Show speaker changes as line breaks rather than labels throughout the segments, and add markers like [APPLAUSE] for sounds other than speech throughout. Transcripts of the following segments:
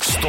Stå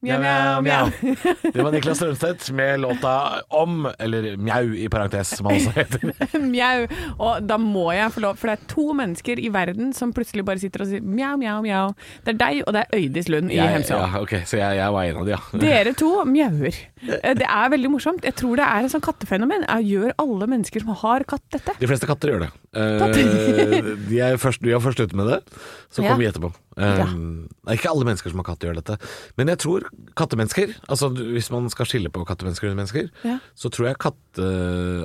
Mjau, mjau, [LAUGHS] mjau.
Det var Niklas Strømstedt med låta Om, eller Mjau i parentes, som han også heter.
Mjau. Og da må jeg få lov, for det er to mennesker i verden som plutselig bare sitter og sier mjau, mjau, mjau. Det er deg, og det er Øydis Lund [LAUGHS] i
Jeg,
Hemsedal.
ja, ok, så jeg, jeg var en av de, ja.
Dere to
[LAUGHS]
mjauer. Eh, Det er veldig morsomt. Jeg tror det er et sånt kattefenomen. Eh, Gjør alle mennesker som har katt, dette?
De fleste katter gjør det. Eh,
Katter.
de, er først, de var først ute med det, så kom
Ja.
vi etterpå. Eh, det er Ikke alle mennesker som har katt gjør dette, men jeg tror kattemennesker Altså du- Hvis man skal skille på kattemennesker og hundemennesker,
Ja.
så tror jeg katte...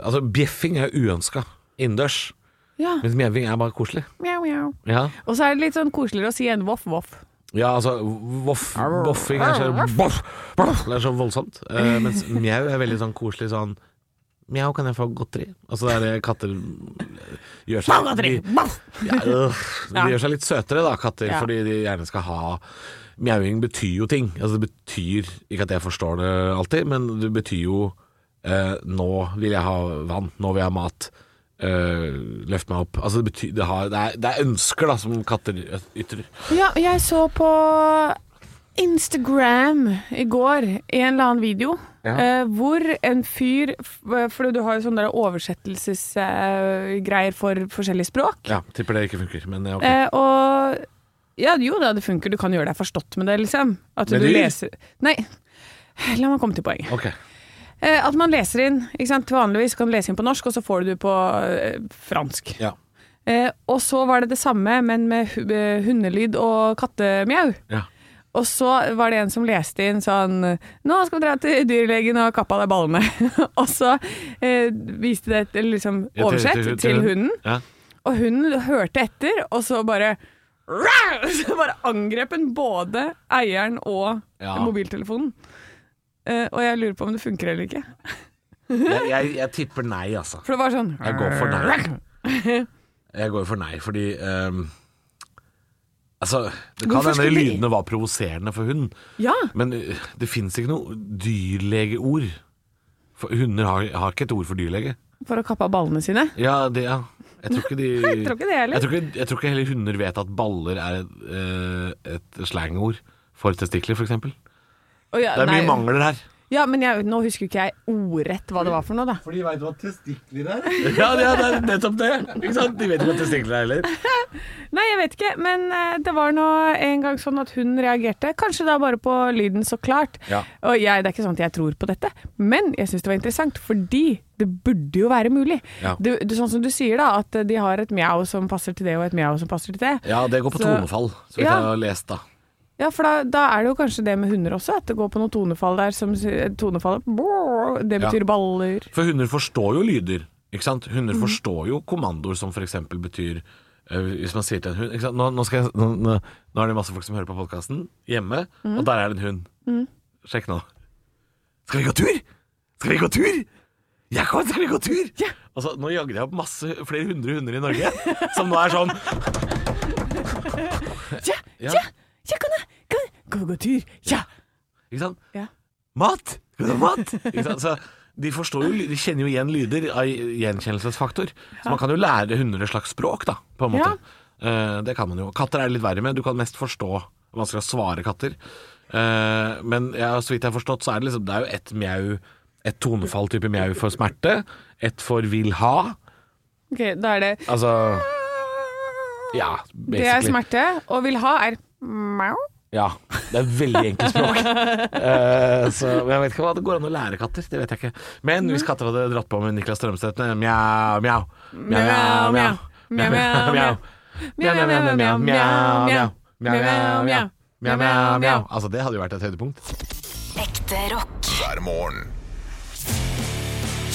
Altså bjeffing er uønska innendørs,
Ja.
mens mjauing er bare koselig.
Mjau, mjau.
Ja,
Og så er det litt sånn koseligere å si enn voff, voff.
ja altså voff, boffing er så, boff, boff, det er så voldsomt, eh, mens mjau er veldig sånn koselig sånn Mjau, kan jeg få godteri? Altså det er det katter gjør seg de- Ja, øh, de
[LAUGHS] Ja.
gjør seg litt søtere da, katter,
Ja.
fordi de gjerne skal ha Mjauing betyr jo ting. Altså, det betyr Ikke at jeg forstår det alltid, men det betyr jo eh, Nå vil jeg ha vann. Nå vil jeg ha mat. Eh, løft meg opp. Altså, det, betyr, det, har, det, er, det er ønsker da, som katter ytrer.
Ja, jeg så på Instagram i går en eller annen video
Ja.
eh, hvor en fyr f- For du har jo sånne oversettelsesgreier for forskjellige språk.
Ja, Tipper det ikke funker, men ja, ok.
Eh, og ja, jo da, det funker. Du kan gjøre deg forstått med det, liksom. At
Med
du
dyr?
leser Nei, la meg komme til poenget.
Ok.
Eh, at man leser inn. ikke sant? Vanligvis kan du lese inn på norsk, og så får du det på eh, fransk.
Ja.
Eh, og så var det det samme, men med hu eh, hundelyd og kattemjau.
Ja.
Og så var det en som leste inn sånn Nå skal vi dra til dyrlegen og kappe av deg ballene. [LAUGHS] og så eh, viste det et liksom,
Ja, til-
oversett
til- til-
til hunden,
Ja.
og hunden hørte etter, og så bare [LAUGHS] «Rau!» Så bare angrep den både eieren og
Ja.
mobiltelefonen. Eh, og jeg lurer på om det funker eller ikke.
Jeg, jeg, jeg tipper nei, altså.
For det var sånn
Jeg går for nei. Jeg går for nei, fordi ehm, Altså, det kan
Hvorfor
hende
skulle de-
lydene var provoserende for hunden,
[LAUGHS] Ja,
men øh, det fins ikke noe dyrlegeord. For hunder har, har ikke et ord for dyrlege.
for å kappe av ballene sine.
Ja, det, ja. Jeg tror ikke de
[LAUGHS] Jeg tror ikke det heller.
Jeg tror ikke, jeg tror ikke heller hunder vet at baller er et, øh, et slangord for testikler, f.eks. Det
Å ja,
er mye
nei.
mangler her.
Ja, men jeg, nå husker ikke jeg ordrett hva det var for noe, da.
For de veit hva testikler er.
[LAUGHS] Ja, ja, det er nettopp det. Ikke sant? De vet ikke hva testikler er
[LAUGHS]
heller.
Nei, jeg vet ikke, men eh, det var nå en gang sånn at hun reagerte. Kanskje da bare på lyden, så klart.
Ja.
Og jeg, det er ikke sånn at jeg tror på dette, men jeg syns det var interessant, fordi det burde jo være mulig.
Ja.
Det, det, sånn som du sier, da, at de har et mjau som passer til det, og et mjau som passer til det.
Ja, det går på
Så-
tonefall, så vidt
Ja.
jeg har lest, da.
Ja, for da, da er det jo kanskje det med hunder også, at det går på noe tonefall der som sier- Tonefallet brrr,
Ja.
Det betyr baller.
For hunder forstår jo lyder, ikke sant? Hunder forstår jo kommandoer som f.eks. betyr eh, Hvis man sier til en hund ikke sant? Nå, nå, skal jeg, nå, nå, nå er det masse folk som hører på podkasten hjemme, og der er det en hund. Sjekk nå. Skal vi gå tur? Skal vi gå tur? Ja, kom, skal vi gå tur? Og så, nå jagde jeg opp masse flere hundre hunder i Norge, som nå er sånn
Tja,
Ja.
tja, tja, kan jeg, kan jeg gå, gå tur? Tja.
Ikke sant?
Ja.
Mat! Skal du ha
[LAUGHS]
mat? Ikke sant? Så de forstår jo, ly- de kjenner jo igjen lyder av gjenkjennelsesfaktor. Så man kan jo lære hunder et slags språk, da, på en måte. Eh, det kan man jo. Katter er det litt verre med. Du kan mest forstå vanskelig å svare katter. Eh, men ja, så vidt jeg har forstått, så er det liksom Det er jo ett mjau, et tonefall type mjau for smerte. Ett for vil ha.
Ok, da er det
Altså Ja, basically.
Det er smerte, og vil ha er mjau.
Ja, det er veldig enkelt
[LAUGHS]
språk. Eh, så jeg vet ikke hva det går an å lære katter. Det vet jeg ikke. Men hvis katter hadde dratt på med Niklas Strømstedt med mjau, mjau, mjau, mjau, mjau, mjau, mjau, mjau, mjau, mjau, mjau, mjau, mjau, mjau, mjau, mjau, mjau, mjau, mjau, mjau. Altså, det hadde jo vært et høydepunkt.
Ekte rock.
hver morgen.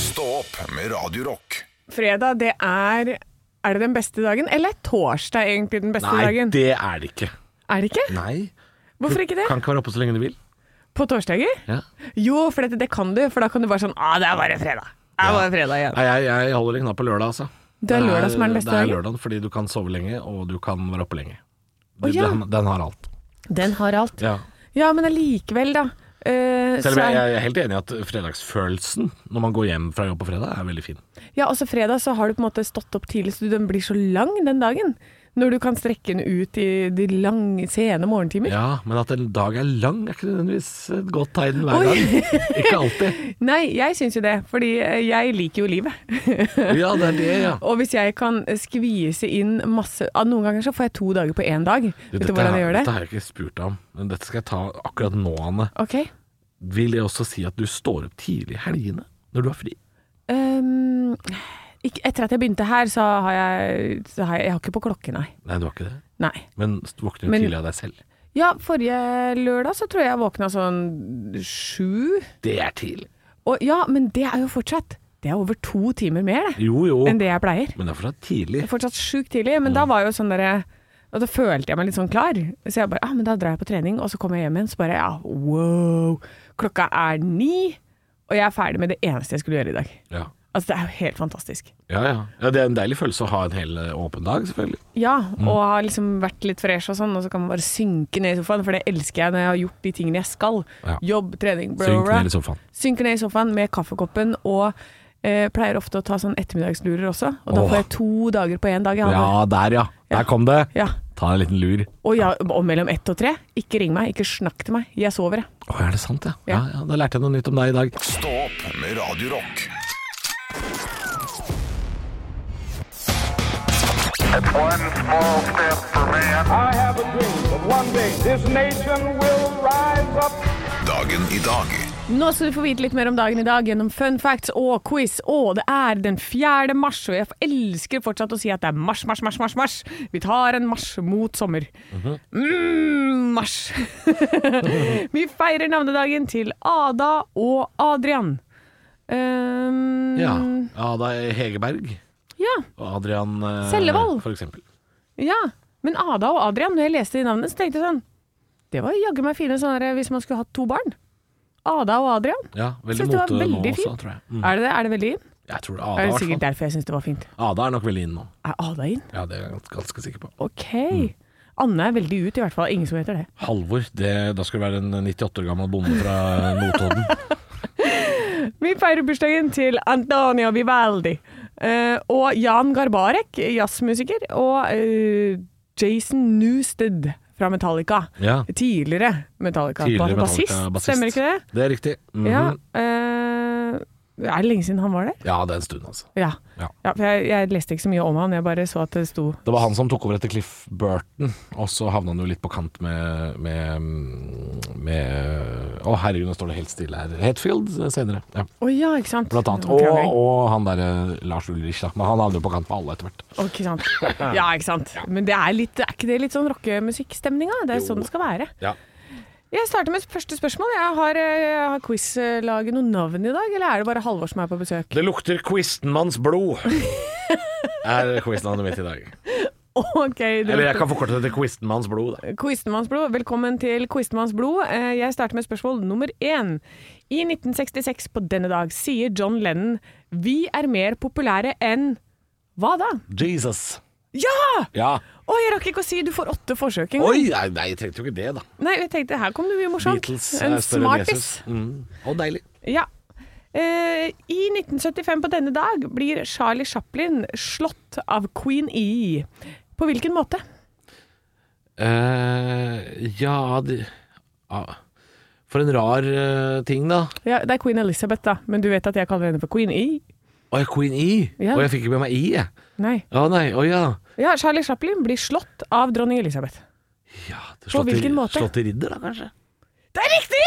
Stå opp med Radio Rock.
Fredag, det er Er det den beste dagen? Eller er torsdag egentlig den beste
Nei,
dagen?
det er det ikke.
Er det ikke?
Nei.
Hvorfor ikke det?
Kan ikke være oppe så lenge du vil.
På torsdager?
Ja.
Jo, for dette, det kan du, for da kan du bare sånn Å, det er bare fredag. Det er bare fredag igjen.
Nei, jeg, jeg holder en knapp på lørdag, altså.
Det er lørdag som er den beste
Det er
dagen.
lørdagen fordi du kan sove lenge, og du kan være oppe lenge.
Å, ja.
Den, den har alt.
Den har alt.
Ja.
Ja, men allikevel, da. eh,
Selv
så
om
er-
jeg, jeg er helt enig i at fredagsfølelsen når man går hjem fra jobb på fredag, er veldig fin.
Ja, også fredag så har du på en måte stått opp tidlig, så den blir så lang den dagen. Når du kan strekke den ut i de lange, sene morgentimer.
Ja, Men at en dag er lang, er ikke nødvendigvis et godt tegn hver
Oi.
gang. Ikke alltid.
Nei, jeg syns jo det, fordi eh, jeg liker jo livet.
Ja, det er det, ja.
Og hvis jeg kan eh, skvise inn masse ah, Noen ganger så får jeg to dager på én dag.
Du,
Vet du hvordan jeg gjør det?
dette har jeg ikke spurt deg om, men dette skal jeg ta akkurat nå, Anne.
Ok.
Vil det også si at du står opp tidlig i helgene når du har fri?
Ehm, ikke, etter at jeg begynte her, så har jeg så har jeg, jeg har ikke på klokke, nei.
Nei, du har ikke det.
nei.
Men du våkner
Men-
tidlig av deg selv.
Ja, forrige lørdag så tror jeg jeg våkna sånn sju.
Det er tidlig.
Og ja, men det er jo fortsatt Det er over to timer mer, det.
Jo, jo.
Enn det jeg pleier.
Men det er fortsatt tidlig.
Det er Fortsatt sjukt tidlig, men da var jo sånn derre og Da følte jeg meg litt sånn klar. Så jeg bare ah, men da drar jeg på trening, og så kommer jeg hjem igjen, så bare ja, wow. Klokka er ni, og jeg er ferdig med det eneste jeg skulle gjøre i dag.
Ja.
Altså, det er jo helt fantastisk.
Ja, ja, ja. Det er en deilig følelse å ha en hel eh, åpen dag, selvfølgelig.
Ja,
Mm.
og har liksom vært litt fresh og sånn, og så kan man bare synke ned i sofaen, for det elsker jeg når jeg har gjort de tingene jeg skal.
Ja.
Jobb, trening, bro,
Synk ned i sofaen.
Synker ned i sofaen med kaffekoppen og eh, pleier ofte å ta sånn ettermiddagslurer også, og da
Åh.
får jeg to dager på én dag. jeg har-
Ja, der ja. Der kom det.
Ja.
Ta en liten lur.
Og, ja, og mellom ett og tre. Ikke ring meg, ikke snakk til meg. Jeg sover, jeg.
Å, er det sant, ja?
Ja.
Ja, ja? Da lærte jeg noe nytt om deg i dag.
Stå opp med Radio Rock.
One small step for man.
I have a dream that one day this nation will rise up.
Dagen i dag.
Nå skal du få vite litt mer om dagen i dag gjennom fun facts og quiz. Og det er den 4. mars, og jeg elsker fortsatt å si at det er mars, mars, mars, mars. mars. Vi tar en marsj mot sommer. Mm, mars. [LAUGHS] Vi feirer navnedagen til Ada og Adrian. Um,
Ja. Ada Hegerberg
ja.
og Adrian eh,
Sellevold.
For eksempel.
Ja, men Ada og Adrian, når jeg leste de navnene, så tenkte jeg sånn Det var jaggu meg fine sånne der, hvis man skulle hatt to barn. Ada og Adrian.
Ja, veldig
Synes det var
mote nå
veldig
også,
fint.
tror jeg. Mm.
Er det det? Er det veldig inn?
Jeg tror det
er
er
det
Ada, i
sikkert
hvert fall.
derfor jeg syns det var fint.
Ada er nok veldig inn nå.
Er Ada inn?
Ja, det er jeg gans- ganske sikker på.
Ok.
Mm.
Anne er veldig ut, i hvert fall. Ingen som heter det.
Halvor, det, da skal det være en 98 år gammel bonde fra
[LAUGHS]
Notodden.
Vi feirer bursdagen til Antonio Vivaldi. eh, og Jan Garbarek, jazzmusiker. Og eh, Jason Newsted fra Metallica.
Ja.
Tidligere Metallica.
Tidligere
bassist.
Metallica-bassist.
Stemmer ikke det?
Det er riktig. Mhm.
Ja. eh, er det lenge siden han var der?
ja, det er en stund, altså.
Ja.
Ja.
ja for jeg, jeg leste ikke så mye om han, jeg bare så at det sto
Det var han som tok over etter Cliff Burton, og så havna han jo litt på kant med med, med Å, herregud, nå står det helt stille her. Hetfield eh, senere, ja,
Å ja, ikke sant?
blant annet. Og,
Krangling.
og han derre Lars Ulrich, da. Men han havner jo på kant med alle etter hvert.
Å, ikke sant? Ja, ikke sant. Men det er, litt, er ikke det litt sånn rockemusikkstemning, da? Det er sånn det skal være.
Ja.
Jeg starter med første spørsmål. Jeg Har, eh, har quizlaget noen navn i dag, eller er det bare Halvor som er på besøk? [LAUGHS]
Det lukter Quistenmanns blod, er quiznavnet mitt i dag.
OK,
Eller jeg kan forkorte det til Quistenmanns blod, da.
Quistenmannsblod. Velkommen til Quistenmannsblod. Eh, Jeg starter med spørsmål nummer én. I 1966 på denne dag sier John Lennon 'Vi er mer populære enn' Hva da?
Jesus.
Ja!
Ja.
Å, jeg rakk ikke å si du får åtte forsøk engang.
Oi, nei, nei, jeg trengte jo ikke det, da.
Nei, jeg tenkte her kom det mye morsomt.
Beatles
en
er større enn Jesus.
smartis.
Mm. Og deilig.
Ja. Eh, I 1975 på denne dag blir Charlie Chaplin slått av Queen E. På hvilken måte?
eh ja, det, ja For en rar eh, ting, da.
Ja, det er Queen Elizabeth, da, men du vet at jeg kaller henne for Queen E?
Å ja, Queen E.
Ja.
Å, jeg fikk ikke med meg I, jeg.
Nei.
Å nei, å ja.
Ja, Charlie Chaplin blir slått av dronning Elisabeth.
ja det
På
slått i-
hvilken måte?
Slått i ridder, da, kanskje.
Det er riktig!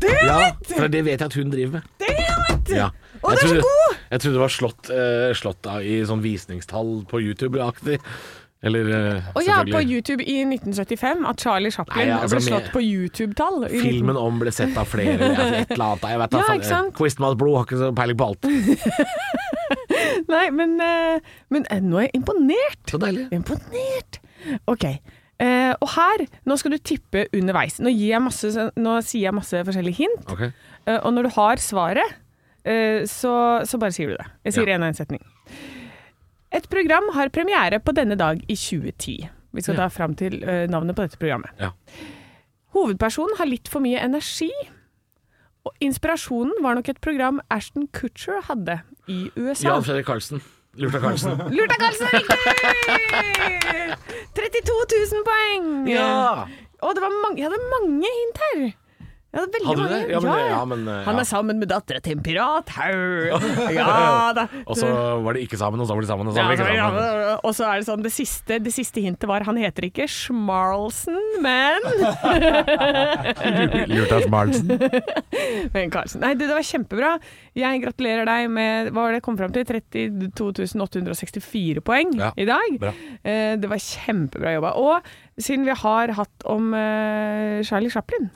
Damn
Ja,
it!
for det vet jeg at hun driver med.
Damn it!
Ja. Jeg
Å, du er så
trodde-
god!
Jeg trodde det var slått, eh, slått av i sånn visningstall på YouTube-aktig. Eller eh,
Og ja, på
selvfølgelig.
YouTube i 1975, at Charlie Chaplin
Nei, altså,
ble
med-
slått på YouTube-tall. i 19-
Filmen om ble sett av flere, eller et eller annet. Jeg vet, da
Ja,
faen,
ikke
eh,
sant?
Quizmas blod har ikke så peiling på alt.
Nei, men, eh, men eh, nå er jeg imponert.
Så deilig.
Imponert! Ok. eh, og her, nå skal du tippe underveis. Nå, gir jeg masse, nå sier jeg masse forskjellige hint,
Ok.
eh, og når du har svaret, eh, så, så bare sier du det. Jeg sier
Ja.
én og én setning. Et program har premiere på denne dag i 2010. Vi skal ta fram til eh, navnet på dette programmet.
Ja.
Hovedpersonen har litt for mye energi, Og inspirasjonen var nok et program Ashton Kutcher hadde i USA.
Jan Fredrik Karlsen. Lurta Karlsen.
Lurta Karlsen er riktig! 32 000 poeng! Og det var mange, jeg hadde mange hint her. Jeg hadde veldig
Hadde du
mange.
det? Ja, men det- ja, men, eh,
Han
ja.
er sammen med dattera til en pirat.
[LAUGHS]
Hau! Ja da.
Og så var de ikke sammen, og så var de sammen, og så
Ja,
var de
altså,
ikke
ja,
sammen.
og så er det sånn det siste, det siste hintet var Han heter ikke Schmarlsen,
[LAUGHS]
men
Lurta Karlsen.
[LAUGHS] Men Karlsen. Nei, du, det var kjempebra. Jeg gratulerer deg med hva var det jeg kom fram til? 32.864 poeng
Ja,
i dag.
bra.
Eh, det var kjempebra jobba. Og siden vi har hatt om eh, Charlie Chaplin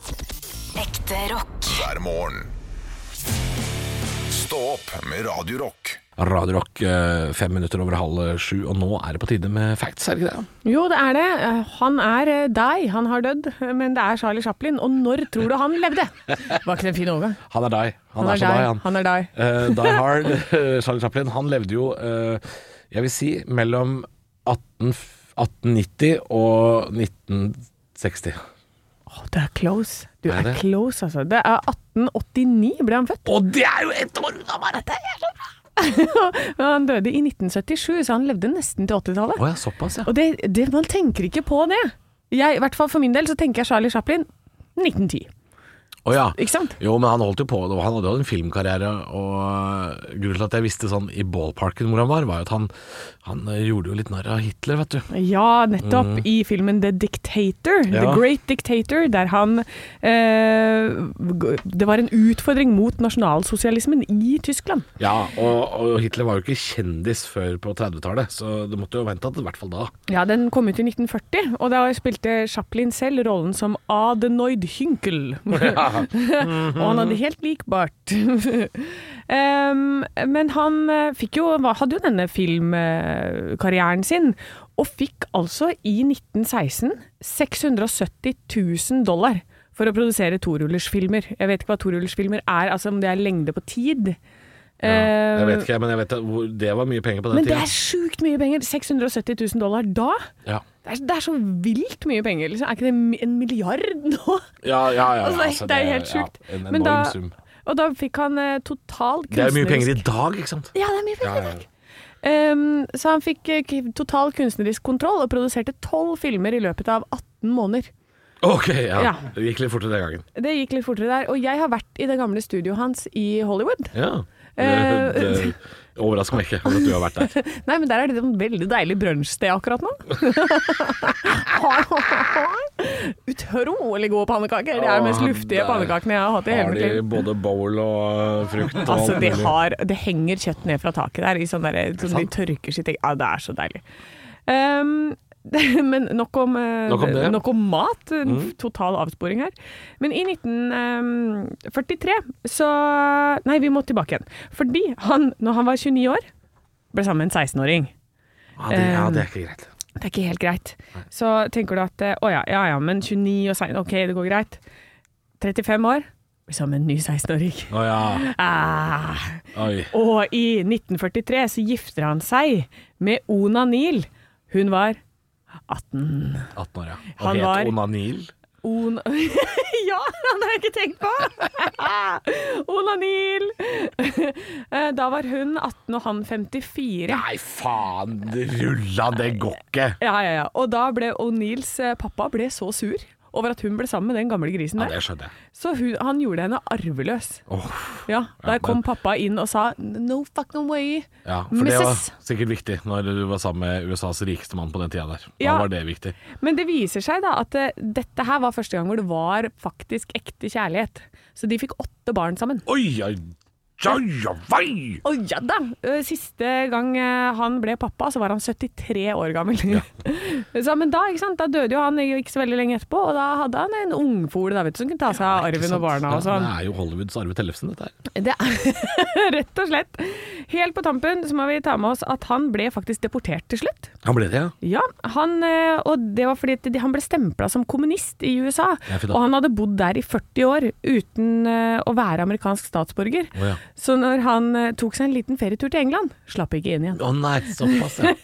Ekte rock.
hver morgen. Stå opp med Radio Rock.
Radio Rock eh, fem minutter over halv sju, og nå er det på tide med facts, er det ikke det?
Jo, det er det. Eh, Han er eh, deg. Han har dødd, eh, men det er Charlie Chaplin. Og når tror du han levde? Var ikke [LAUGHS] det en fin overgang?
Han er deg. Han, er, så
deg.
deg, han.
Han er deg.
Eh, Die Hard, eh, Charlie Chaplin, han levde jo, eh, jeg vil si, mellom 18, 1890 og 1960.
Å, det er close. Du
Er
er,
det?
close, altså. Det er 1889 ble han født.
Og det er jo ett år unna meg! Å
[LAUGHS] Men han døde i 1977, så han levde nesten til 80-tallet.
ja, såpass, ja.
Og det, det, man tenker ikke på det. Jeg, I hvert fall for min del så tenker jeg Charlie Chaplin 1910.
Å ja.
Ikke sant?
Jo, men han holdt jo på, og han hadde jo en filmkarriere, og eh, grunnen til at jeg visste sånn i ballparken hvor han var, var jo at han, han eh, gjorde jo litt narr av Hitler, vet du.
Ja, nettopp. I filmen The Dictator,
Ja.
The Great Dictator, der han eh, Det var en utfordring mot nasjonalsosialismen i Tyskland.
Ja, og, og Hitler var jo ikke kjendis før på 30-tallet, så det måtte jo vente at i hvert fall da.
Ja, Den kom ut i 1940, og da spilte Chaplin selv rollen som Adenoid
[LAUGHS]
Hynkel. [LAUGHS] og han hadde helt likbart. [LAUGHS] Em, men han eh, fikk jo, hva- hadde jo denne filmkarrieren sin, og fikk altså i 1916 670 000 dollar for å produsere torullersfilmer. Jeg vet ikke hva torullersfilmer er, altså om det er lengde på tid.
Ja, jeg
Eh,
vet ikke, men jeg vet at hvor- det var mye penger på den
men det
tiden.
er sjukt mye penger! 670 000 dollar da?
Ja.
Det er, det er så vilt mye penger. Liksom. Er ikke det mi- en milliard nå? [LAUGHS]
Ja, ja, ja, ja.
Altså,
altså,
det er helt sjukt.
Ja, en
Men
enorm
da-
sum.
Og da fikk han eh, total kunstnerisk
Det er jo mye penger i dag, ikke sant?
Ja, det er mye penger.
Ja, ja.
Ehm, så han fikk eh, k- total kunstnerisk kontroll og produserte tolv filmer i løpet av 18 måneder.
Ok, ja.
Ja.
Det gikk litt fortere den gangen.
Det gikk litt fortere der. Og jeg har vært i det gamle studioet hans i Hollywood.
Ja. Det,
Eh,
det overrasker meg ikke at du har vært der.
Nei, men der er det et veldig deilig
[LAUGHS]
brunsjsted akkurat nå. Utrolig gode pannekaker. Det er de mest
Åh,
luftige
der
pannekakene jeg har hatt i hele
Har
mitt liv.
de både bowl og eh, frukt og
Altså,
alt
de
mulig?
har, det henger kjøtt ned fra taket der. I sånn der sånn de
sant?
tørker sitt eget Ja, det er så deilig. Ehm, [LAUGHS] men nok om, eh,
Nok om det. Mm.
nok om mat. En Total avsporing her. Men i 1943 så Nei, vi må tilbake igjen. Fordi han, når han var 29 år, ble sammen med en 16-åring.
Ja, det, ja, det er ikke greit.
Det er ikke helt greit. Så tenker du at eh, å ja, ja ja, men 29 og 16, ok, det går greit. 35 år, blir sammen med en ny 16-åring.
Å ja.
Ah.
Oi.
Og i 1943 så gifter han seg med Ona Neal. Hun var 18.
18 år, ja. Og
Han
het
var-
Onanil.
Ona [LAUGHS] Ja, det har jeg ikke tenkt på! [LAUGHS] Ona Neal. Eh, Da var hun 18 og han 54.
Nei, faen! Det rulla, det går ikke!
Ja, ja, ja. Og da ble O'Neills eh, pappa ble så sur over at hun ble sammen med den gamle grisen
Ja,
der.
det skjønner jeg.
Så hun, han gjorde henne arveløs.
Åh.
Ja, Der kom
men-
pappa inn og sa 'no fucking way'.
Ja, for det var
Mrs.
sikkert viktig når du var sammen med USAs rikeste mann på den tida der. Da
Ja.
var det viktig.
Men det viser seg da at eh, dette her var første gang hvor det var faktisk ekte kjærlighet. Så de fikk åtte barn sammen.
Oi, oi, oi, oi!
Å ja da! Eh, Siste gang eh, han ble pappa, så var han 73 år gammel. [LAUGHS] så, men da, ikke sant? da døde jo han ikke så veldig lenge etterpå, og da hadde han en ungfole da, vet du, som kunne ta seg av
Ikke
arven
sant?
og barna og
Ja,
sånn.
Det er jo Hollywoods Arve Tellefsen, dette her.
Det er [LAUGHS] rett og slett. Helt på tampen så må vi ta med oss at han ble faktisk deportert til slutt.
Han ble det, ja.
Ja, han, eh, og det var fordi at de- han ble stempla som kommunist i USA.
Ja, fy da.
Og han hadde bodd der i 40 år uten eh, å være amerikansk statsborger.
Å ja.
Så når han eh, tok seg en liten ferietur til England, slapp ikke inn igjen.
Å nei, såpass, ja.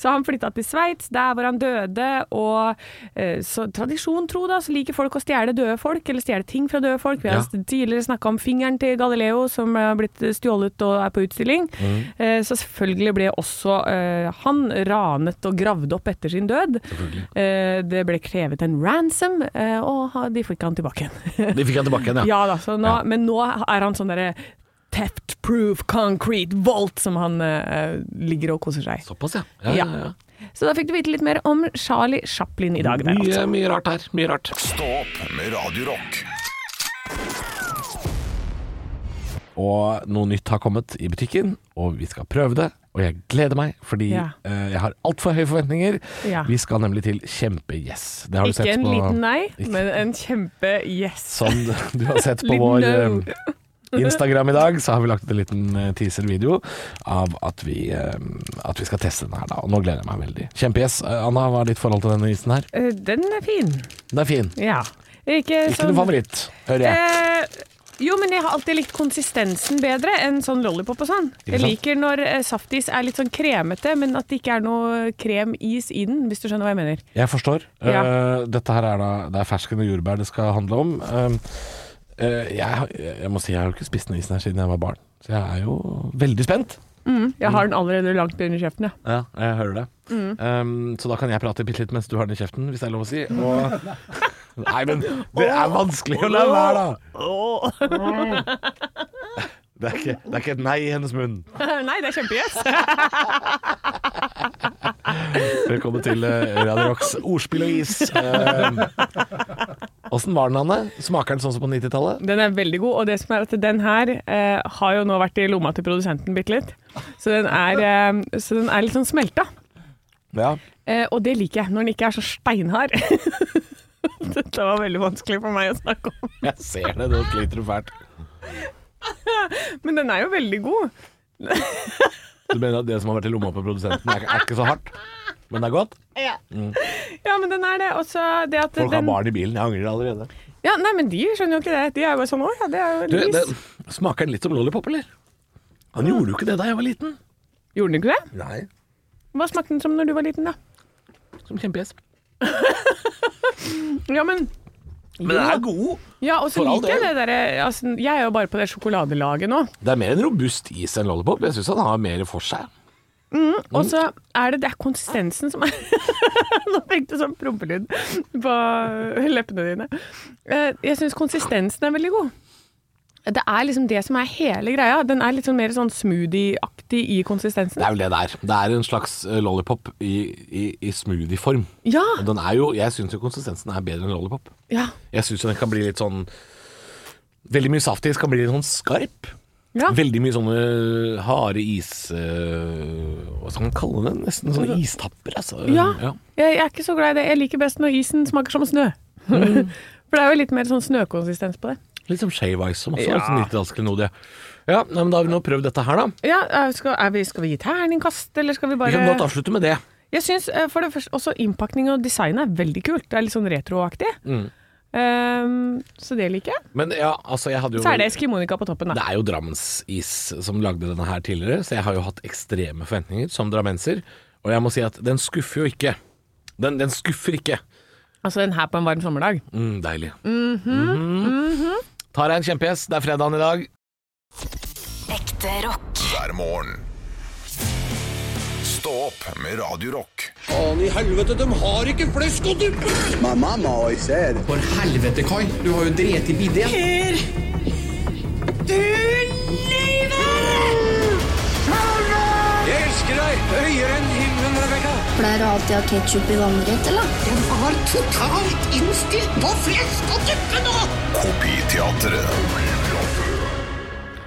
Så han flytta til Sveits, der hvor han døde, og eh, så, tradisjon tro, da, så liker folk å stjele døde folk, eller stjele ting fra døde folk. Vi har
Ja.
st- tidligere snakka om fingeren til Galileo som eh, har blitt stjålet og er på utstilling.
Mm.
Eh, så selvfølgelig ble også eh, han ranet og gravd opp etter sin død. Eh, det ble krevet en ransom, eh, og ha- de fikk han tilbake igjen.
De fikk han tilbake igjen, ja.
[LAUGHS] Ja da, så nå,
Ja.
men nå er han sånn derre Theft proof concrete vault som han eh, ligger og koser seg i.
Såpass, ja. Ja, ja, ja.
Så da fikk du vite litt mer om Charlie Chaplin i dag. Der, altså.
Mye, mye rart her. Mye rart.
Stå opp med Radio Rock.
og noe nytt har kommet i butikken, og vi skal prøve det. Og jeg gleder meg, fordi
Ja.
eh, jeg har altfor høye forventninger.
Ja.
Vi skal nemlig til Kjempe-Yes. Det har du
Ikke
sett
en
på
liten nei,
Ikke-
men en kjempe-yes.
Som [LAUGHS] du har sett på
[LAUGHS] Liten
vår
no.
eh, Instagram i dag, så har vi lagt ut en liten eh, teaser-video av at vi, eh, at vi skal teste den her, da. Og nå gleder jeg meg veldig. Kjempe-Yes. Eh, Anna, hva er ditt forhold til denne isen her?
Eh, Den er fin.
Den er fin.
Ja. Ikke,
Ikke
sånn-
noen favoritt, hører jeg.
Eh, jo, men jeg har alltid likt konsistensen bedre enn sånn lollipop og sånn. Jeg
sant?
liker når eh, saftis er litt sånn kremete, men at det ikke er noe kremis i den, hvis du skjønner hva jeg mener.
Jeg forstår.
Ja.
Eh, dette her er da Det er fersken og jordbær det skal handle om. Um, eh, jeg, har- jeg må si jeg har jo ikke spist den isen her siden jeg var barn, så jeg er jo veldig spent.
Jeg har den allerede langt under kjeften, ja. [LAUGHS]
Ja, jeg hører det. Um, så da kan jeg prate bitte litt mens du har den i kjeften, hvis det er lov å si. Og, nei, men det er vanskelig å la være, da! Det er, ikke, det er ikke et nei i hennes munn.
Nei, det er kjempegjess.
Velkommen til eh, Radio Rocks ordspill og is. Ehm, Åssen var den, Anne? Smaker den sånn som på 90-tallet?
Den er veldig god, og det som er at den her eh, har jo nå vært i lomma til produsenten bitte litt. Så den er, eh, så den er litt sånn smelta.
Ja.
Eh, og det liker jeg, når den ikke er så steinhard. [LAUGHS] Dette var veldig vanskelig for meg å snakke om.
Jeg ser det, nå sliter du fælt.
Men den er jo veldig god.
Du mener at det som har vært i lomma på produsenten er, er ikke så hardt, men det er godt?
Ja, men den er det. Og så det at
Folk har
den
barn i bilen, jeg angrer allerede.
Ja, nei, men de skjønner jo ikke det. De er jo bare sånn Å ja, det er jo
Du,
lys.
det, smaker den litt som lollipop, eller? Han gjorde jo ikke det da jeg var liten.
Gjorde den ikke det?
Nei.
Hva smakte den som når du var liten, da?
Som kjempegjess.
Ja, men
Men den er god.
Ja, og så
For all
liker jeg det derre altså, Jeg er jo bare på det sjokoladelaget nå.
Det er mer en robust is enn lollipop. Jeg syns han har mer for seg.
Og så er det, det er konsistensen som er [LAUGHS] Nå tenkte jeg sånn prompelyd på leppene dine. Eh, Jeg syns konsistensen er veldig god. Det er liksom det som er hele greia. Den er litt sånn mer sånn smoothie-aktig i
Det
konsistensen.
er vel det det er. Det er en slags eh, lollipop i, i, i smoothie-form.
Ja!
Og den er jo Jeg syns jo konsistensen er bedre enn lollipop.
Ja.
Jeg syns den kan bli litt sånn Veldig mye saftis kan bli litt sånn skarp.
ja.
Veldig mye sånne harde is... øh, hva skal man kalle det? Nesten sånne istapper, altså.
ja. Jeg, jeg er ikke så glad i det. Jeg liker best når isen smaker som snø.
Mm.
[LAUGHS] For det er jo litt mer sånn snøkonsistens på det.
Litt som shave ice, som også er sånn nittidalsklenodie. Ja, nei, men da har vi nå prøvd dette her, da.
Ja, er- skal, er vi, skal vi gi terningkast, eller skal vi bare
Vi kan godt avslutte med det.
Jeg syns eh, for det første også innpakning og design er veldig kult. Det er litt sånn retroaktig. Ehm, så det liker jeg.
Men ja, altså, jeg hadde jo
Så er det Eskimonika på toppen,
Det
da.
er jo Drammensis som lagde denne her tidligere, så jeg har jo hatt ekstreme forventninger som drammenser. Og jeg må si at den skuffer jo ikke. Den, den skuffer ikke.
Altså den her på en varm sommerdag.
Mm, deilig.
Mhm,
Tar deg en kjempegjess. Det er fredagen i dag.
Ekte rock.
hver morgen. Stå opp med Radio Rock.
Faen i helvete, de har ikke flesk og dupp!
My mama always said,
For helvete, Kai. Du har jo drept i bidé. Jeg elsker deg høyere enn himmelen, Rebekka.
Pleier du alltid å ha ketsjup i vannrett, eller?
Var totalt innstilt på flesk og duppe nå!
Kopiteatret.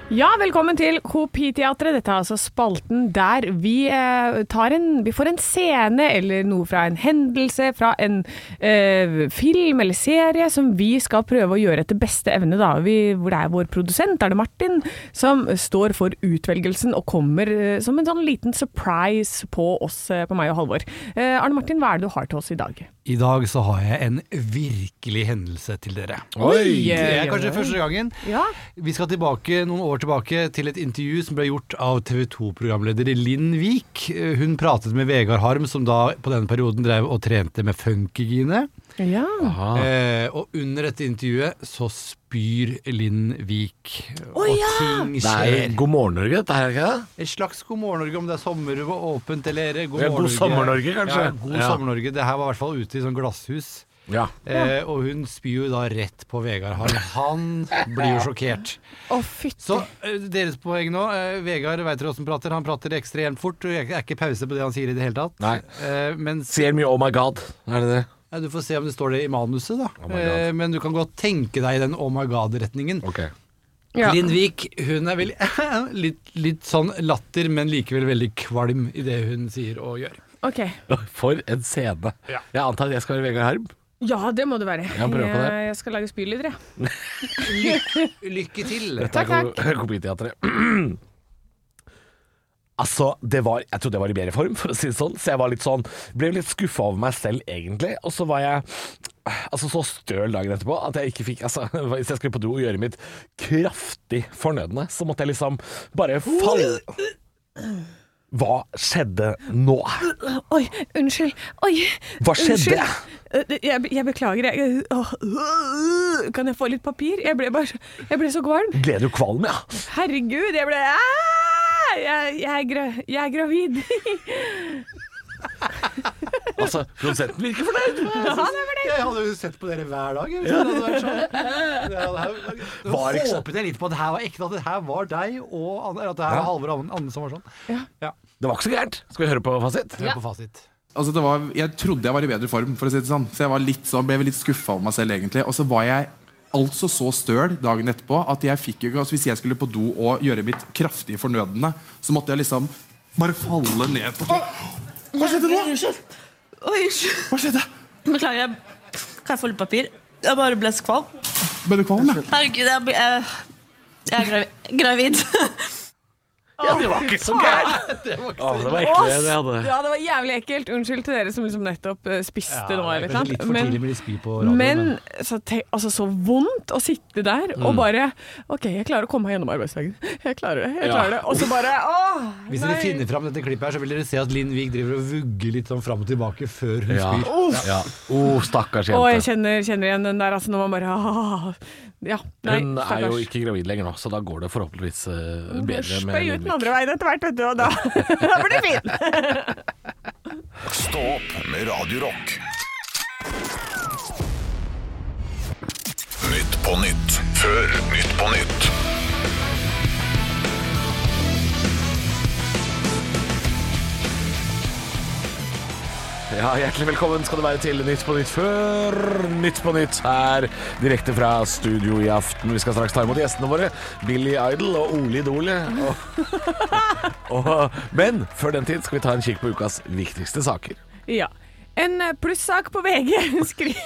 Ja, velkommen til Kopiteatret. Dette er altså spalten der vi eh, tar en Vi får en scene eller noe fra en hendelse, fra en eh, film eller serie som vi skal prøve å gjøre etter beste evne, da. Vi, hvor det er vår produsent, er det Martin, som står for utvelgelsen og kommer eh, som en sånn liten surprise på oss, eh, på meg og Halvor. Eh, Arne Martin, hva er det du har til oss i dag?
I dag så har jeg en virkelig hendelse til dere.
Oi!
Det er kanskje første gangen.
Ja.
Vi skal tilbake, noen år tilbake til et intervju som ble gjort av TV 2-programleder Linn Vik. Hun pratet med Vegard Harm, som da på denne perioden drev og trente med funkygine.
Ja.
Eh, og under dette intervjuet så spyr Linn Vik. og ting
Det er
skjer.
God morgen, Norge, dette her, er ikke det?
Et slags God morgen Norge, om det er sommer og åpent eller God,
Ja,
morgen,
God sommer, Norge, kanskje?
Ja, god
Ja.
sommer Norge. Det her var i hvert fall ute i sånn glasshus.
Ja.
Eh, og hun spyr jo da rett på Vegard Harm. Han blir jo sjokkert.
Å, fytti.
Så eh, deres poeng nå. Eh, Vegard vet dere åssen prater. Han prater ekstremt fort. Og jeg er ikke pause på det han sier i det hele tatt.
Nei.
Eh, mens
Sier mye 'oh my god'. Er det det?
ja, Du får se om det står det i manuset, da.
Oh my God.
eh, men du kan godt tenke deg i den oh my god-retningen.
Ok.
Ja.
Lindvik hun er vel [LAUGHS] litt, litt sånn latter, men likevel veldig kvalm i det hun sier og gjør.
Ok.
[LAUGHS] For en scene. Jeg antar at jeg skal være Vegard Harm.
Ja, det må du være.
Ja, prøv på det.
Jeg- Jeg skal lage spylyder, jeg.
Lykke til!
Dette
Takk,
er kom- Kopiteatret. [CLEARS THROAT] Altså, det var, Jeg trodde jeg var i bedre form, for å si det sånn, så jeg var litt sånn, ble litt skuffa over meg selv, egentlig. Og så var jeg altså, så støl dagen etterpå at jeg ikke fikk altså, [LAUGHS] Hvis jeg skulle på do og gjøre mitt kraftig fornødne, så måtte jeg liksom bare falle Hva skjedde nå?
Oi, unnskyld. Oi,
Hva skjedde?
Unnskyld. Eh, Jeg, jeg beklager. Jeg, åh, øh, kan jeg få litt papir? Jeg ble, bare, jeg ble så kvalm.
Ble du kvalm, ja?
Herregud, jeg ble Ah! jeg, jeg, er gra, jeg er gravid. [LAUGHS]
Altså, produsenten virker fornøyd.
Jeg hadde jo sett på dere hver dag. Jeg, hvis det hadde vært sånn. Det hadde- det [LAUGHS] hadde-
Var ikke sånn.
håpet jeg litt på at det her var ekte, at det her var deg og Anne, eller at det her
Ja.
var Halvor og Anne- Anne som var sånn. Ja.
Det var ikke så gærent. Skal vi høre på fasit?
Hør på fasit.
Altså, det var, jeg trodde jeg var i bedre form, for å si det sånn. Så jeg var litt sånn, ble litt skuffa over meg selv, egentlig. Og så var jeg altså så støl dagen etterpå at jeg fikk jo ikke altså, Hvis jeg skulle på do og gjøre mitt kraftige fornødne, så måtte jeg liksom bare falle ned på Hva skjedde nå? Hva skjedde?
Beklager, jeg- kan jeg få litt papir? Jeg bare ble så kvalm.
Ble du kvalm? ja?
Herregud, jeg, blir- jeg, jeg er gravi- [LAUGHS] gravid.
Ja, det var ikke så gærent. Å, [LAUGHS] Det var ekle det jeg hadde.
Ja, det var jævlig ekkelt. Unnskyld til dere som liksom nettopp eh, spiste nå. eller sant?
litt for tidlig med de spy på radioen.
Men så, te, altså, så vondt å sitte der
Mm.
og bare OK, jeg klarer å komme meg gjennom arbeidsdagen. Jeg klarer det. jeg
Ja.
klarer det. Og så bare åh,
Hvis dere finner fram dette klippet her, så vil dere se at Linn Vig driver og vugger litt sånn fram og tilbake før hun
Ja.
spyr.
ja. Oh, stakkars
Å, jeg
jente.
kjenner, kjenner igjen den der, altså, når man bare ah, Ja, nei,
Hun er jo
stakkars.
ikke gravid lenger nå, så da går det forhåpentligvis eh, bedre med
Spøy ut den
Lindvik.
andre veien etter hvert, vet du, og da, [LAUGHS] da blir det fint.
Stå opp med Radio Rock. Nytt på nytt før Nytt på nytt.
Ja, Hjertelig velkommen skal du være til Nytt på Nytt før Nytt på Nytt her direkte fra studio i aften. Vi skal straks ta imot gjestene våre, Billy Idol og Ole Idole. Og, og, men før den tid skal vi ta en kikk på ukas viktigste saker.
Ja. En eh, plussak på [LAUGHS] VG skriver,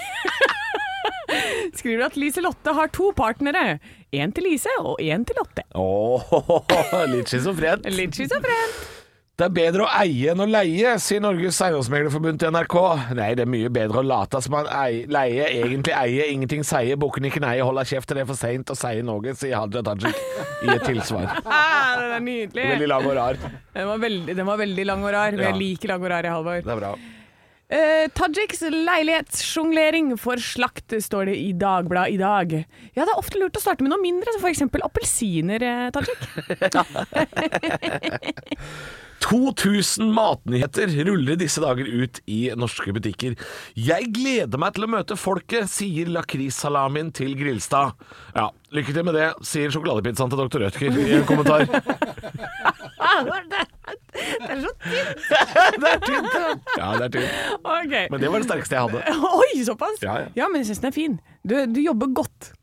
skriver at Lise-Lotte har to partnere. Én til Lise og én til Lotte.
Åh, litt schizofrent.
Litt schizofrent.
Det er bedre å eie enn å leie, sier Norges eiendomsmeglerforbund til NRK. Nei, det er mye bedre å late som man ei, leie, egentlig eie, ingenting seie, bukken ikke nei, holde kjeft til det er for seint å seie noe, sier Hadia Tajik i et tilsvar.
Ah, den er nydelig.
Veldig lang og rar.
Den var veldig, den var veldig lang og rar. men
Ja.
Jeg liker lang og rar, jeg, Halvor.
Det er bra.
Eh, Tajiks leilighetsjonglering for slakt, står det i Dagbladet i dag. Ja, det er ofte lurt å starte med noe mindre, som f.eks. appelsiner, eh, Tajik.
[LAUGHS] 2000 matnyheter ruller disse dager ut i norske butikker. Jeg gleder meg til å møte folket, sier lakrissalamien til Grilstad. Ja, lykke til med det, sier sjokoladepizzaen til Dr. Rødtger i en kommentar.
Ah, det er- det er så tynt!
Det er tynt, ja. Ja, det er tynt.
Ok.
Men det var det sterkeste jeg hadde.
[LAUGHS] Oi, såpass?
Ja, ja.
men jeg syns den er fin. Du, du jobber godt.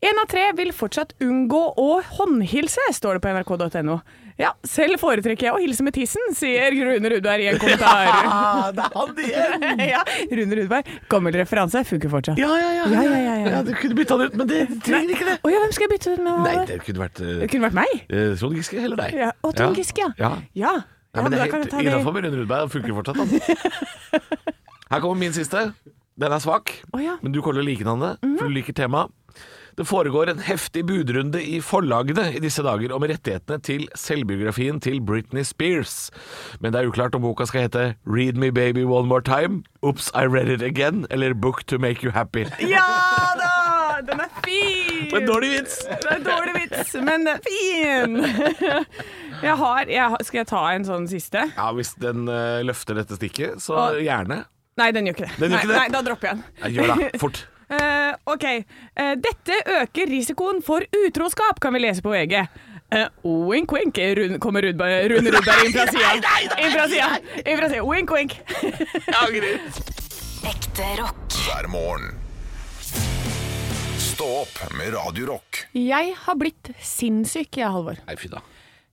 Én av tre vil fortsatt unngå å håndhilse, står det på nrk.no. Ja, selv foretrekker jeg å hilse med tissen, sier Rune Rudberg i en
[LAUGHS]
kommentar.
Ah, det er han igjen!
ja, Rune Rudberg, gammel referanse, funker fortsatt.
Ja, ja, ja.
Ja, ja, ja, ja.
du kunne bytta den ut, men det trenger ikke det.
Å ja, hvem skal jeg bytte ut med?
Nei,
Halvor?
det kunne vært eh,
det kunne vært meg.
eh, Trond Giske eller deg.
Ja. Og Trond Giske, ja.
ja.
Ja,
Nei, men det
da
er
kan
helt
jeg ta det. [LAUGHS]
innafor med Rune Rudberg. Han funker fortsatt, han. altså. Her kommer min siste. Den er svak,
Å, ja.
men du kommer til å like den, Anne,
Mhm.
for du liker temaet. Det foregår en heftig budrunde i forlagene i disse dager om rettighetene til selvbiografien til Britney Spears. Men det er uklart om boka skal hete Read Me Baby One More Time, Oops I Read It Again eller Book To Make You
[LAUGHS]
Happy.
Ja da! Den er fin!
Men dårlig vits!
Det er dårlig vits, men fin! [LAUGHS] Jeg har, jeg, har- skal jeg ta en sånn siste?
Ja, Hvis den eh, løfter dette stikket, så
Og-
gjerne.
Nei, den gjør ikke det.
Den gjør
nei,
ikke det?
nei, da dropper jeg den.
Ja,
[LAUGHS]
gjør det. Fort.
Eh, ok. Eh, dette øker risikoen for utroskap, kan vi lese på VG. Eh, wink, wink, Rune, kommer Rudberg, Rune Rudberg
[LAUGHS]
inn fra sida. Inn fra sida. Inn fra sida. Wink, wink. [LAUGHS]
Ekte rock.
hver morgen. Stå opp med Radio Rock.
Jeg har blitt sinnssyk, jeg, Halvor.
Nei, fy da.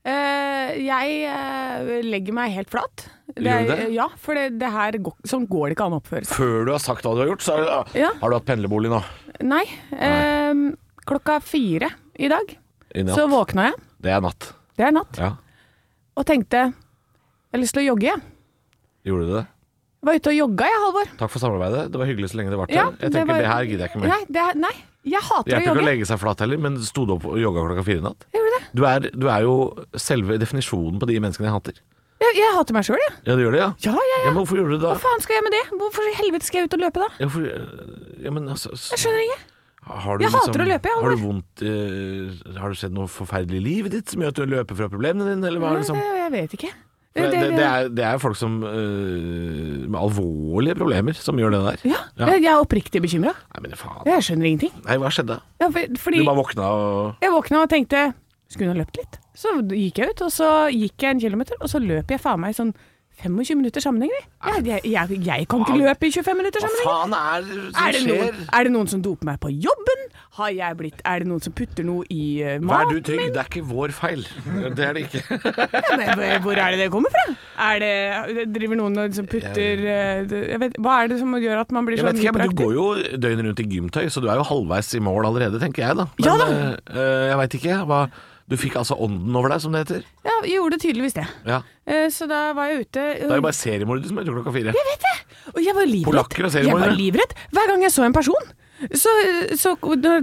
Eh, jeg eh, legger meg helt flat.
Gjør du
er-
det?
Ja, for det, det her går, sånn går det ikke an å oppføre seg.
Før du har sagt hva du har gjort, så er det,
Ja.
har du hatt pendlerbolig nå.
Nei. ehm, klokka fire i dag
I natt.
så våkna jeg,
Det er natt.
det er natt,
Ja.
og tenkte jeg har lyst til å jogge, jeg.
Gjorde du det?
Jeg var ute og jogga, jeg, Halvor.
Takk for samarbeidet. Det var hyggelig så lenge det varte.
Ja,
jeg tenker
var-
det her gidder jeg ikke mer.
Nei, det, er- nei jeg
Det
hater å
hjelper ikke å
jogge.
legge seg flat heller, men sto du opp og jogga klokka fire i natt?
Jeg gjorde det.
Du er, du er jo selve definisjonen på de menneskene jeg hater.
Jeg, jeg hater meg sjøl, jeg.
Ja, du gjør det, ja?
Ja, ja, ja.
men hvorfor gjorde du det da?
Hva faen skal jeg med det? Hvorfor i helvete skal jeg ut og løpe da?
Ja, for- ja, men altså s-
Jeg skjønner ikke.
har du liksom-
jeg hater å løpe, jeg,
Har du vondt eh, Har det skjedd noe forferdelig i livet ditt som gjør at du løper fra problemene dine, eller hva er det som
Nei, det, jeg vet ikke.
For Det, det, det, er, det er folk som eh, med alvorlige problemer som gjør det der.
ja, Jeg, jeg er oppriktig bekymra.
Nei, men faen.
Jeg skjønner ingenting.
Nei, hva skjedde?
Ja, for,
Du
fordi
bare våkna og
jeg våkna og tenkte skulle hun ha løpt litt? Så gikk jeg ut, og så gikk jeg en kilometer, og så løp jeg faen meg i sånn 25 minutter sammenheng. jeg. Jeg, jeg, jeg, jeg kan ikke løpe i 25 minutter
Hva
sammenheng.
faen er det som
Er det,
skjer?
noen, er det noen som doper meg på jobben? Har jeg blitt, er det noen som putter noe i eh,
Vær
maten
du trygg,
min?
det er ikke vår feil. Det er det ikke.
Ja, men hvor- Hvor er det det kommer fra? Er det, driver noen og liksom putter eh, det- jeg vet, Hva er det som gjør at man blir
Jeg
sånn
vet ikke, men Du
hyperaktiv?
går jo døgnet rundt i gymtøy, så du er jo halvveis i mål allerede, tenker jeg da. Men,
Ja da.
eh, eh, jeg veit ikke. Hva, du fikk altså ånden over deg, som det heter.
Ja, jeg gjorde tydeligvis det.
Ja.
Eh, Så da var jeg ute
Det er jo bare seriemordere som heter klokka fire.
Jeg vet det! Og jeg var livredd.
Polakker og
Jeg
seriemordere.
var livredd hver gang jeg så en person. Så, så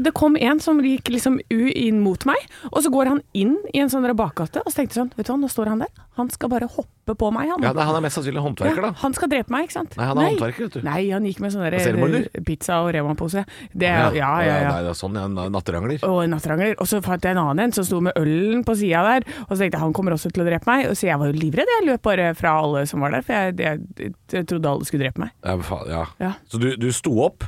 det kom en som gikk liksom u inn mot meg, og så går han inn i en sånn der bakgate, og så tenkte jeg sånn, vet du hva, nå står han der, han skal bare hoppe på meg, han.
Ja, nei, han er mest sannsynlig håndverker,
Ja,
da.
han skal drepe meg, ikke sant?
Nei, han er håndverker, vet du.
Nei, han gikk med sånne
Seriemorder?
der eh, pizza- og Rema-pose. Det, ja, ja, ja.
Nei, det er sånn, ja, natterangler.
Og en nattrangler. Og så fant jeg en annen en som sto med ølen på sida der, og så tenkte jeg han kommer også til å drepe meg. Og Så jeg var jo livredd, jeg løp bare fra alle som var der, for jeg, jeg, jeg trodde alle skulle drepe meg.
Ja, men faen, ja.
Ja.
Så du, du sto opp,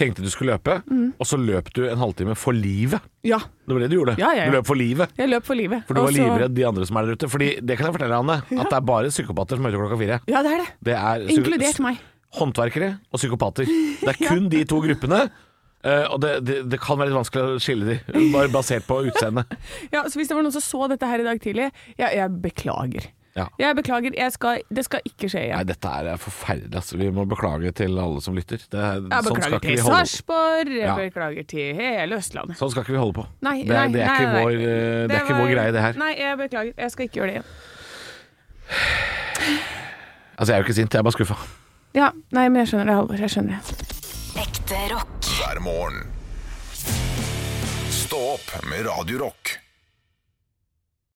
tenkte du skulle løpe,
Mm.
og så løp du en halvtime for livet.
Ja,
Det var det du gjorde.
Ja, ja, ja.
Du løp for livet.
jeg løp for livet.
For du var
Og så-
livredd de andre som er der ute. Fordi det kan jeg fortelle deg, Anne, at det er bare psykopater som er ute klokka fire.
Ja, det er det.
Det er psyko-
Inkludert meg.
håndverkere og
[LAUGHS]
psykopater. Det er kun de to gruppene. eh, og det, det, det kan være litt vanskelig å skille de, bare basert på
[LAUGHS]
utseendet.
Ja, så hvis det var noen som så dette her i dag tidlig, jeg, jeg beklager.
Ja.
Jeg beklager, jeg skal, det skal ikke skje
Nei,
igjen.
dette er forferdelig. Altså. Vi må beklage til alle som lytter. Det er,
Jeg
sånn,
beklager
skal ikke
til
vi holde,
Sarpsborg, jeg
Ja.
beklager til hele Østlandet.
sånn skal ikke vi holde på.
Nei,
det, er-
nei,
det er,
nei,
ikke,
nei.
Vår, eh, det er ikke vår
var-
greie, det her.
Nei, jeg beklager. Jeg skal ikke gjøre det igjen.
Altså, jeg er jo ikke sint, jeg er bare skuffa.
Ja, nei, men jeg skjønner det, Halvor. Jeg skjønner det.
Ekte rock.
hver morgen. Stå opp med Radio Rock.